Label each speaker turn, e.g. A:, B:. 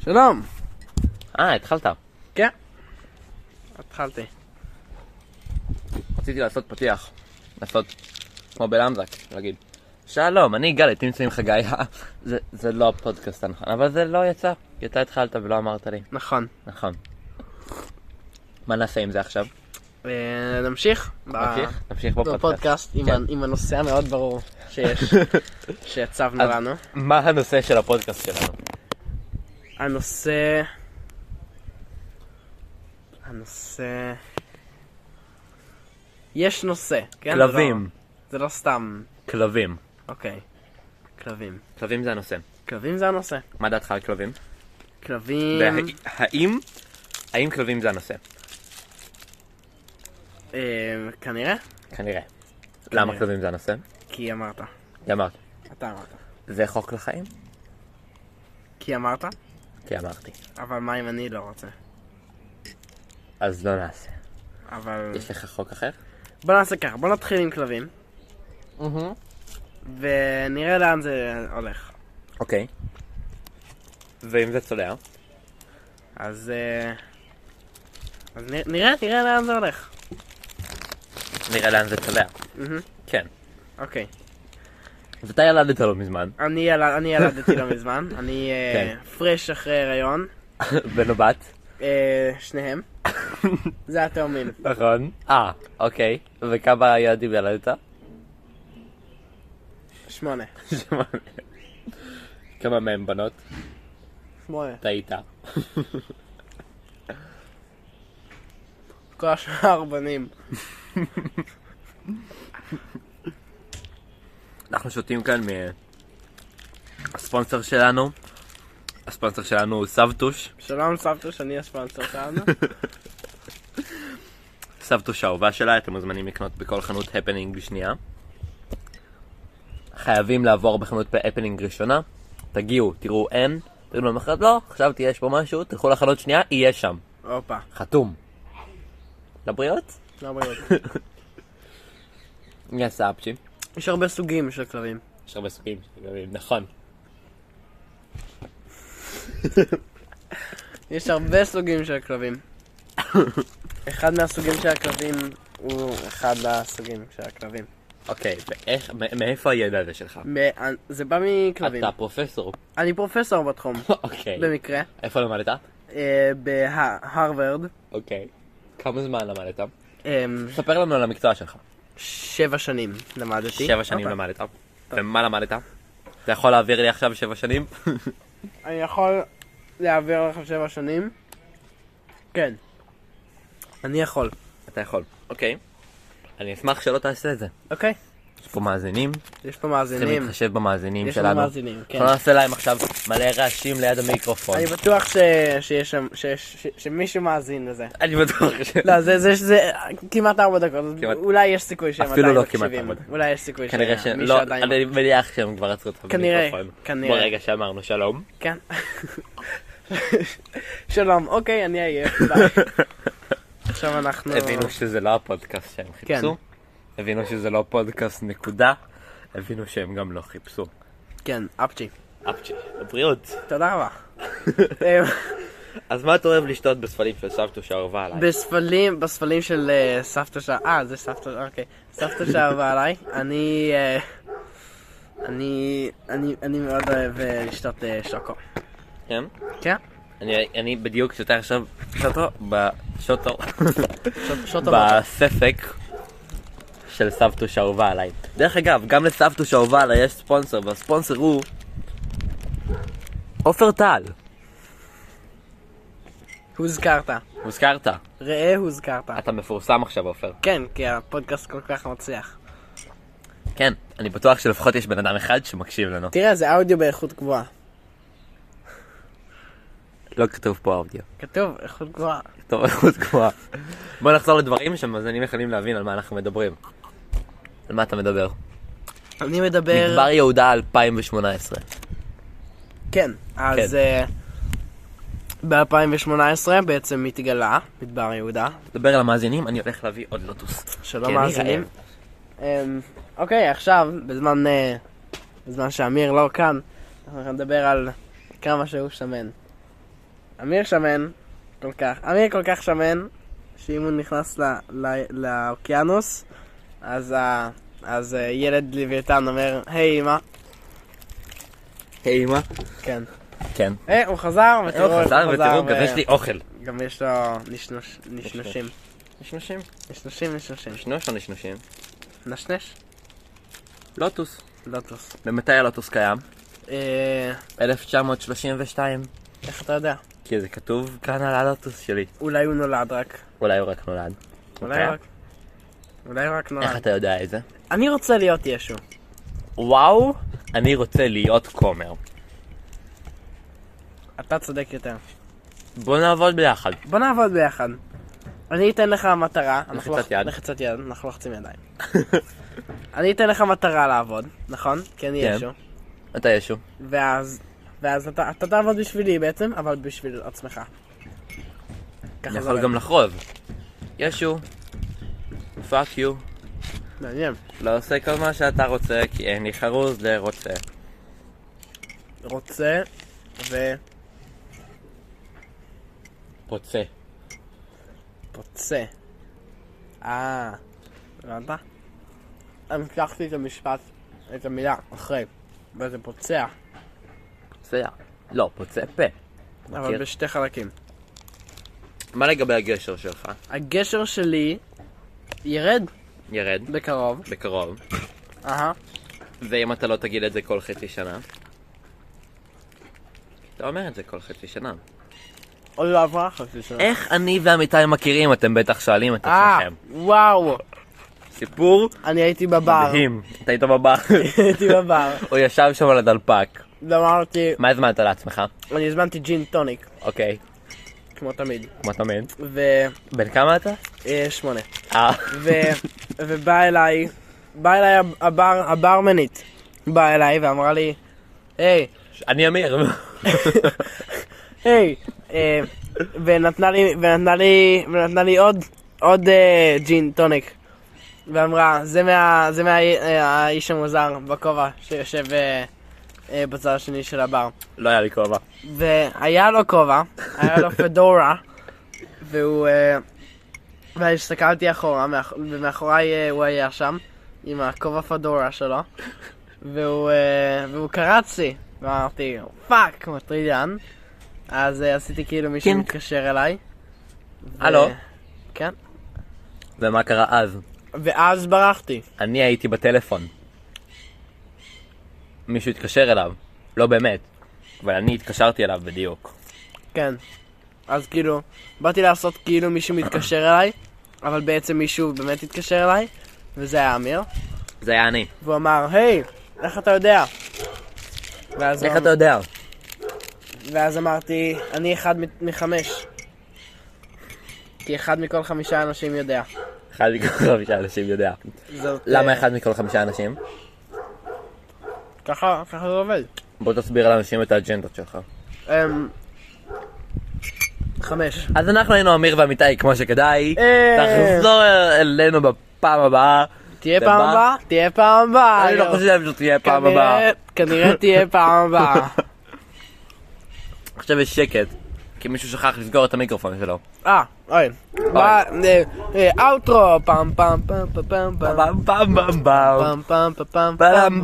A: שלום.
B: אה, התחלת.
A: כן. התחלתי.
B: רציתי לעשות פתיח. לעשות כמו בלמזק, להגיד. שלום, אני גל, אתם נמצאים חגי. זה- זה לא הפודקאסט הנכון, אבל זה לא יצא. כי אתה התחלת ולא אמרת לי.
A: נכון.
B: נכון. מה נעשה עם זה עכשיו?
A: אה, נמשיך? ב-
B: נמשיך? נמשיך בפודקאסט.
A: בפודקאסט עם
B: כן.
A: ה- עם הנושא המאוד ברור שיש, שהצבנו
B: אז-
A: לנו.
B: מה הנושא של הפודקאסט שלנו?
A: הנושא... הנושא... יש נושא, כן? זה לא-
B: כלבים.
A: זה לא סתם,
B: כלבים.
A: אוקיי. כלבים.
B: כלבים זה הנושא.
A: כלבים זה הנושא.
B: מה דעתך על כלבים?
A: כלבים...
B: והאם... האם כלבים זה הנושא?
A: אה, כנראה,
B: כנראה. למה
A: כנראה.
B: כלבים זה הנושא?
A: כי אמרת.
B: כי אמרת.
A: אתה אמרת.
B: זה חוק לחיים?
A: כי אמרת,
B: כי אמרתי.
A: אבל מה אם אני לא רוצה?
B: אז לא נעשה.
A: אבל...
B: יש לך חוק אחר?
A: בוא נעשה ככה, בוא נתחיל עם כלבים, ונראה לאן זה הולך.
B: אוקיי. ואם זה צולע?
A: אז... אה, אז נראה, נראה, נראה לאן זה הולך.
B: נראה לאן זה צולע.
A: מהמם.
B: כן.
A: אוקיי.
B: ואתה ילדת לא מזמן.
A: אני, יל... אני ילדתי לא מזמן, אני אה,
B: כן.
A: פרש אחרי הריון,
B: בן או בת?
A: אה, שניהם. זה התאומים.
B: נכון. אה, אוקיי. וכמה ילדים ילדת?
A: שמונה.
B: כמה מהם בנות?
A: שמונה.
B: טעית.
A: כל השאר בנים.
B: אנחנו שותים כאן מ... הספונסר שלנו. הספונסר שלנו הוא סבתוש.
A: שלום סבתא שאני הספונסר שלנו.
B: סבתוש האהובה שלה, אתם מוזמנים לקנות בכל חנות הפנינג שנייה. חייבים לעבור בחנות הפנינג ראשונה, תגיעו, תראו אין, תגידו למחרת לא, חשבתי יש פה משהו, תלכו לחנות שנייה, יהיה שם.
A: הופה,
B: חתום. לבריאות?
A: לא בריאות.
B: מי עשה אפצ'ים?
A: יש הרבה סוגים של כלבים.
B: יש הרבה סוגים, נכון.
A: יש הרבה סוגים של כלבים. אחד מהסוגים של הכלבים הוא אחד הסוגים של הכלבים.
B: אוקיי, ואיך, מ- מאיפה הידע הזה שלך?
A: לא מא- אה, זה בא מכלבים.
B: אתה פרופסור.
A: אני פרופסור בתחום,
B: אוקיי.
A: במקרה,
B: איפה למדת?
A: אה, בהרווארד,
B: אוקיי. כמה זמן למדת?
A: אה,
B: ספר לנו על המקצוע שלך.
A: שבע שנים למדתי. אוקיי.
B: שבע שנים
A: הופה.
B: למדת. ומה למדת? אתה יכול להעביר לי עכשיו שבע שנים?
A: אני יכול להעביר לך שבע שנים? כן. אני יכול.
B: אתה יכול. אוקיי. אני אשמח שלא תעשה את זה.
A: אוקיי,
B: יש פה מאזינים,
A: יש פה
B: צריכים
A: מאזינים.
B: להתחשב במאזינים
A: יש
B: שלנו.
A: לנו מאזינים, כן.
B: אנחנו לא נעשה להם עכשיו מלא רעשים ליד המיקרופון.
A: אני בטוח ש- שיש שם, שיש- ש- שמישהו מאזין לזה.
B: אני בטוח ש...
A: לא, זה, זה, זה כמעט ארבע דקות, אז
B: כמעט.
A: אולי יש סיכוי שהם
B: אפילו
A: עדיין
B: לא
A: מקשיבים.
B: כמעט ארבע דקות.
A: אולי יש סיכוי
B: כנראה ש...
A: שמישהו
B: לא,
A: עדיין...
B: אני מניח שהם כבר עצרו אותך
A: כנראה,
B: במיקרופון.
A: כנראה.
B: ברגע שאמרנו שלום.
A: כן. שלום, אוקיי, אני אהיה, ביי. עכשיו אנחנו...
B: הבינו שזה לא הפודקאסט שהם חיפשו. הבינו שזה לא פודקאסט נקודה. הבינו שהם גם לא חיפשו.
A: כן, אפצ'י.
B: אפצ'י, בריאות.
A: תודה רבה. אה,
B: אז מה אתה אוהב לשתות בספלים של סבתו שאהובה עליי?
A: בספלים, בספלים של אה, סבתא ש... אה, זה סבתא, אוקיי. סבתא שאהבה עליי. אני... אה, אני... אני אני מאוד אוהב אה, לשתות אה, שוקו.
B: כן?
A: כן?
B: אני, אני בדיוק שותה עכשיו שוטו בשוטו
A: שוט- שוטו.
B: בספק של סבתו שאהובה עליי. דרך אגב, גם לסבתו שאהובה עליי יש ספונסר, והספונסר הוא עופר טל.
A: הוזכרת.
B: הוזכרת.
A: ראה הוזכרת.
B: אתה מפורסם עכשיו עופר.
A: כן, כי הפודקאסט כל כך מצליח.
B: כן, אני בטוח שלפחות יש בן אדם אחד שמקשיב לנו.
A: תראה, זה אודיו באיכות גבוהה.
B: לא כתוב פה אודיו.
A: כתוב, איכות גבוהה.
B: טוב, לא איכות גבוהה. בוא נחזור לדברים שמאזינים יכולים להבין על מה אנחנו מדברים. על מה אתה מדבר?
A: אני מדבר...
B: מדבר יהודה 2018.
A: כן. אז ב-2018 בעצם התגלה מדבר יהודה.
B: דבר אל המאזינים, אני הולך להביא עוד לוטוס.
A: שלום
B: כן,
A: מאזינים. אמ, אוקיי, עכשיו, בזמן אה, בזמן שאמיר לא כאן, אנחנו נדבר על כמה שהוא שמן. אמיר שמן, כל כך, אמיר כל כך שמן, שאם הוא נכנס ל, ל, לאוקיינוס, אז, ה, אז אה, ילד לוויתן אומר, היי אמא,
B: היי אמא.
A: כן.
B: כן.
A: אה, הוא חזר, ותראו,
B: הוא חזר אה, ותראו, גם
A: ו-
B: יש לי אוכל.
A: אה, גם יש לו נשנוש, נשנושים.
B: נשנושים.
A: נשנושים, נשנושים.
B: נשנוש או נשנושים?
A: נשנש?
B: לוטוס.
A: לוטוס.
B: ומתי הלוטוס קיים?
A: אה,
B: 1932.
A: איך אתה יודע?
B: כי זה כתוב כאן על הלוטוס שלי.
A: אולי הוא נולד רק.
B: אולי הוא רק נולד.
A: אולי
B: אוקיי.
A: רק. אולי רק
B: איך
A: נולד.
B: אתה יודע את זה?
A: אני רוצה להיות ישו.
B: וואו, אני רוצה להיות כומר.
A: אתה צודק יותר.
B: בוא נעבוד ביחד.
A: בוא נעבוד ביחד. אני אתן לך מטרה. אנחנו לא-
B: לחיצת יד.
A: לחיצת יד, אנחנו לוחצים ידיים. אני אתן לך מטרה לעבוד, נכון? כי אני
B: כן.
A: ישו.
B: אתה ישו.
A: ואז, ואז אתה, אתה תעבוד בשבילי בעצם, אבל בשביל עצמך. ככה
B: אני
A: זה
B: יכול
A: עובד.
B: גם לחרוב. ישו, פאק יו.
A: מעניין.
B: לא עושה כל מה שאתה רוצה, כי אין לי חרוז לרוצה.
A: רוצה,
B: רוצה.
A: ופוצה. אה, הבנת? המשכתי את המשפט, את המילה, אחרי. וזה פוצע,
B: פוצע. לא, פוצע פה.
A: אבל
B: מכיר?
A: בשתי חלקים.
B: מה לגבי הגשר שלך?
A: הגשר שלי ירד
B: ירד,
A: בקרוב.
B: בקרוב.
A: אהה.
B: ואם אתה לא תגיד את זה כל חצי שנה? אתה אומר את זה כל חצי שנה.
A: עוד לא עברה חצי שנה.
B: איך אני ועמיתי מכירים? אתם בטח שואלים את
A: אה,
B: עצמכם.
A: וואו,
B: סיפור
A: אני הייתי בבר.
B: מדהים. אתה היית בבר.
A: הייתי בבר.
B: הוא ישב שם על הדלפק.
A: ואמרתי,
B: מה הזמנת לעצמך?
A: אני הזמנתי ג'ין טוניק,
B: אוקיי,
A: כמו תמיד.
B: כמו תמיד.
A: ו...
B: בן כמה אתה?
A: אה, שמונה.
B: אה,
A: ו... ובא אליי, בא אליי הב- הבר, הברמנית. באה אליי ואמרה לי, היי,
B: אני אמיר.
A: היי. אה, ונתנה לי, ונתנה לי, ונתנה לי עוד, עוד אה, ג'ין טוניק. ואמרה, זה מה, זה מה אה, האיש המוזר בכובע שיושב אה, אה, בצד השני של הבר.
B: לא היה לי כובע.
A: אה, והיה לו כובע, היה לו פדורה, והוא... אה, והסתכלתי אחורה, מאח- ומאחוריי אה, הוא היה שם, עם הכובע פדורה שלו, והוא, אה, והוא קרץ לי, ואמרתי, פאק, מטרידן. אז אה, עשיתי כאילו מישהו
B: כן.
A: מתקשר אליי. ו-
B: הלו.
A: כן.
B: ומה קרה אז?
A: ואז ברחתי.
B: אני הייתי בטלפון. מישהו התקשר אליו. לא באמת. אבל אני התקשרתי אליו בדיוק.
A: כן. אז כאילו, באתי לעשות כאילו מישהו מתקשר אליי, אבל בעצם מישהו באמת התקשר אליי, וזה היה אמיר.
B: זה היה אני.
A: והוא אמר, היי, איך אתה יודע? ואז,
B: איך
A: הוא
B: אתה
A: אמר,
B: יודע?
A: ואז אמרתי, אני אחד מ- מחמש. כי אחד מכל חמישה אנשים יודע.
B: אחד מכל חמישה אנשים יודע.
A: זאת,
B: למה
A: אה,
B: אחד מכל חמישה אנשים?
A: ככה, ככה זה עובד.
B: בוא תסביר לאנשים את האג'נדות שלך.
A: אמ... חמש.
B: אז אנחנו היינו אמיר ואמיתי כמו שכדאי.
A: אה.
B: תחזור אלינו בפעם הבאה.
A: תהיה
B: זה
A: פעם
B: בא?
A: הבאה? תהיה פעם הבאה.
B: אני לא
A: יואו.
B: חושב שתהיה פעם
A: כנראה-
B: הבאה.
A: כנראה תהיה פעם הבאה.
B: עכשיו יש שקט. כי מישהו שכח לסגור את המיקרופון שלו.
A: אה, אוי. בא, אה, אה, אאוטרו, פעם פעם פעם פעם פעם פעם
B: פעם פעם פעם פעם.
A: פעם פעם פעם
B: פעם.